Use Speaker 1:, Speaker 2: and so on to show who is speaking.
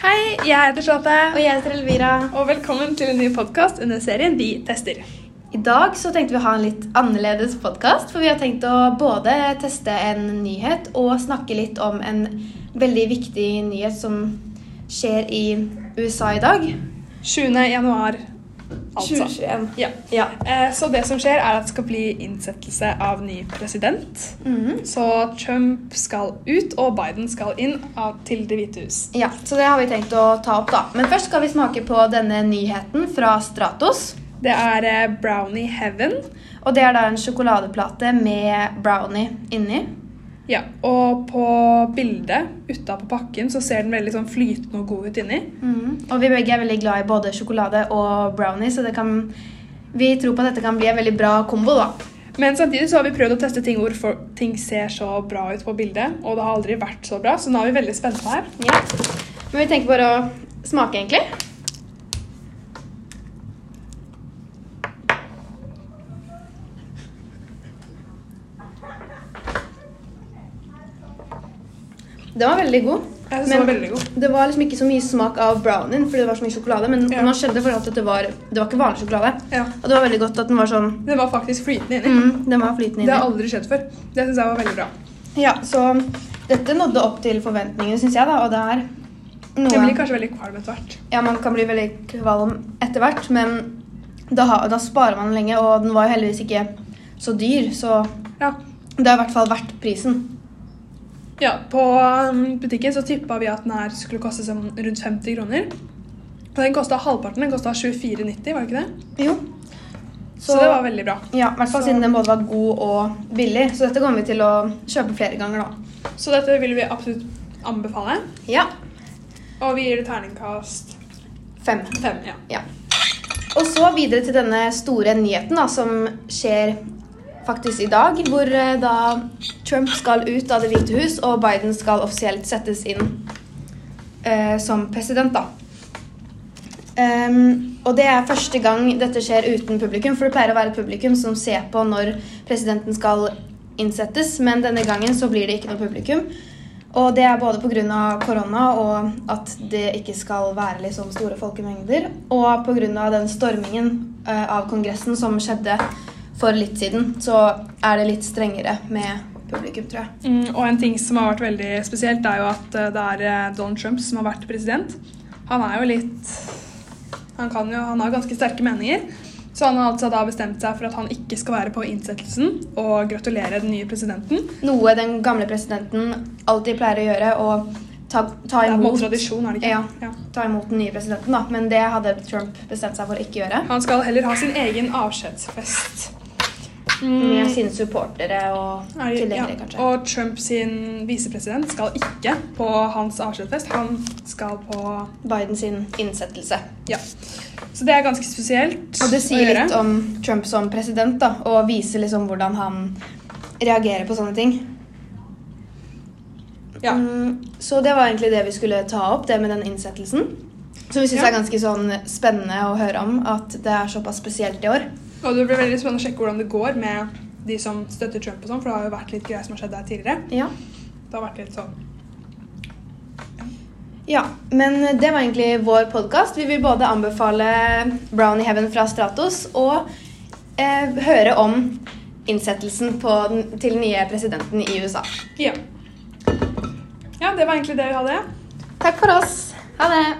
Speaker 1: Hei, jeg heter
Speaker 2: Og
Speaker 1: Charlotte.
Speaker 2: jeg heter Elvira.
Speaker 1: Og velkommen til en ny podkast under serien Vi tester.
Speaker 2: I dag så tenkte vi å ha en litt annerledes podkast. For vi har tenkt å både teste en nyhet og snakke litt om en veldig viktig nyhet som skjer i USA i dag.
Speaker 1: 20. januar, altså.
Speaker 2: 2021.
Speaker 1: Ja.
Speaker 2: Ja.
Speaker 1: Eh, Så det som skjer, er at det skal bli innsettelse av ny president.
Speaker 2: Mhm.
Speaker 1: Så Trump skal ut, og Biden skal inn av, til Det hvite hus.
Speaker 2: ja. Så det har vi tenkt å ta opp, da. Men først skal vi smake på denne nyheten fra Stratos.
Speaker 1: Det er eh, Brownie Heaven.
Speaker 2: Og det er da en sjokoladeplate med brownie inni.
Speaker 1: Ja, Og på bildet utapå pakken så ser den veldig sånn flytende og god ut inni.
Speaker 2: Mm. Og vi begge er veldig glad i både sjokolade og brownie, så det kan, vi tror på at dette kan bli en veldig bra kombo. da.
Speaker 1: Men samtidig så har vi prøvd å teste ting hvor for- ting ser så bra ut på bildet. Og det har aldri vært så bra, så nå er vi veldig spente her.
Speaker 2: Ja. Men vi tenker bare å smake, egentlig. Den var veldig god.
Speaker 1: Jeg synes den var veldig god.
Speaker 2: det var liksom ikke så mye smak av brownien fordi det var så mye sjokolade. Men
Speaker 1: Ja.
Speaker 2: man skjønte for alt at det var, det var ikke vanlig sjokolade.
Speaker 1: Ja.
Speaker 2: Og det var veldig godt at den var sånn
Speaker 1: Den var faktisk flytende inni.
Speaker 2: mm, Den var flytende
Speaker 1: Det har
Speaker 2: inni.
Speaker 1: aldri skjedd før. Det syns jeg var veldig bra.
Speaker 2: Ja, så dette nådde opp til forventningene, syns jeg, da. Og det er noe
Speaker 1: Jeg blir kanskje veldig kvalm etter hvert.
Speaker 2: Ja, man kan bli veldig kvalm etter hvert, men da, ha, da sparer man lenge, og den var jo heldigvis ikke så dyr, så
Speaker 1: Ja.
Speaker 2: det er i hvert fall verdt prisen.
Speaker 1: ja på um, butikken så tippa vi at den her skulle koste sånn rundt 50 kroner. Og den kosta halvparten. Den kosta 24,90, var det ikke det?
Speaker 2: Jo.
Speaker 1: Så, det var veldig bra.
Speaker 2: Ja, i hvert fall
Speaker 1: så-
Speaker 2: siden den både var god og billig, så dette kommer vi til å kjøpe flere ganger, da.
Speaker 1: Så dette vil vi absolutt anbefale.
Speaker 2: Ja.
Speaker 1: Og vi gir det terningkast
Speaker 2: Fem.
Speaker 1: fem. Ja.
Speaker 2: Ja. Og så videre til denne store nyheten da, som skjer faktisk i dag, hvor eh, da Trump skal ut av Det hvite hus, og Biden skal offisielt settes inn eh, som president, da. Ehm, og det er første gang dette skjer uten publikum, for det pleier å være et publikum som ser på når presidenten skal innsettes, men denne gangen så blir det ikke noe publikum. Og det er både pga. korona og at det ikke skal være liksom store folkemengder, og pga. den stormingen eh, av Kongressen som skjedde for litt siden, så er det litt strengere med publikum, tror jeg.
Speaker 1: Mm, og en ting som har vært veldig spesielt, er jo at eh, det er eh, Donald Trump som har vært president. Han er jo litt Han, kan jo, han har ganske sterke meninger. Så han har altså da bestemt seg for at han ikke skal være på innsettelsen og gratulere den nye presidenten.
Speaker 2: Noe den gamle presidenten alltid pleier å gjøre, og ta,
Speaker 1: Det er på
Speaker 2: ta
Speaker 1: en måte
Speaker 2: imot
Speaker 1: tradisjon, er det
Speaker 2: Ja.
Speaker 1: ikke? Ja.
Speaker 2: ta imot den nye presidenten, da. Men det hadde Trump bestemt seg for å ikke gjøre.
Speaker 1: Han skal heller ha sin egen avskjedsfest.
Speaker 2: Med sine supportere Mm. og
Speaker 1: Er det-
Speaker 2: tilhengere,
Speaker 1: ja.
Speaker 2: kanskje.
Speaker 1: Og Trump sin visepresident skal ikke på hans avskjedsfest. Han skal på
Speaker 2: Biden sin innsettelse.
Speaker 1: Ja. Så det er ganske spesielt
Speaker 2: Og det
Speaker 1: å
Speaker 2: sier
Speaker 1: gjøre.
Speaker 2: litt om Trump som president, da, og viser liksom hvordan han reagerer på sånne ting.
Speaker 1: Ja.
Speaker 2: Mm, så det var egentlig det vi skulle ta opp, det med den innsettelsen. Som vi syns
Speaker 1: Ja.
Speaker 2: er ganske sånn spennende å høre om, at det er såpass spesielt i år.
Speaker 1: Og det blir veldig spennende å sjekke hvordan det går med de som støtter Trump og sånn, for det har jo vært litt greier som har skjedd der tidligere.
Speaker 2: Ja.
Speaker 1: Det har vært litt sånn.
Speaker 2: ja. Men det var egentlig vår podkast. Vi vil både anbefale Brownie Heaven fra Stratos og eh, høre om innsettelsen på den, til den nye presidenten i USA.
Speaker 1: Ja. Ja, det var egentlig det vi hadde.
Speaker 2: Takk for oss. Ha det.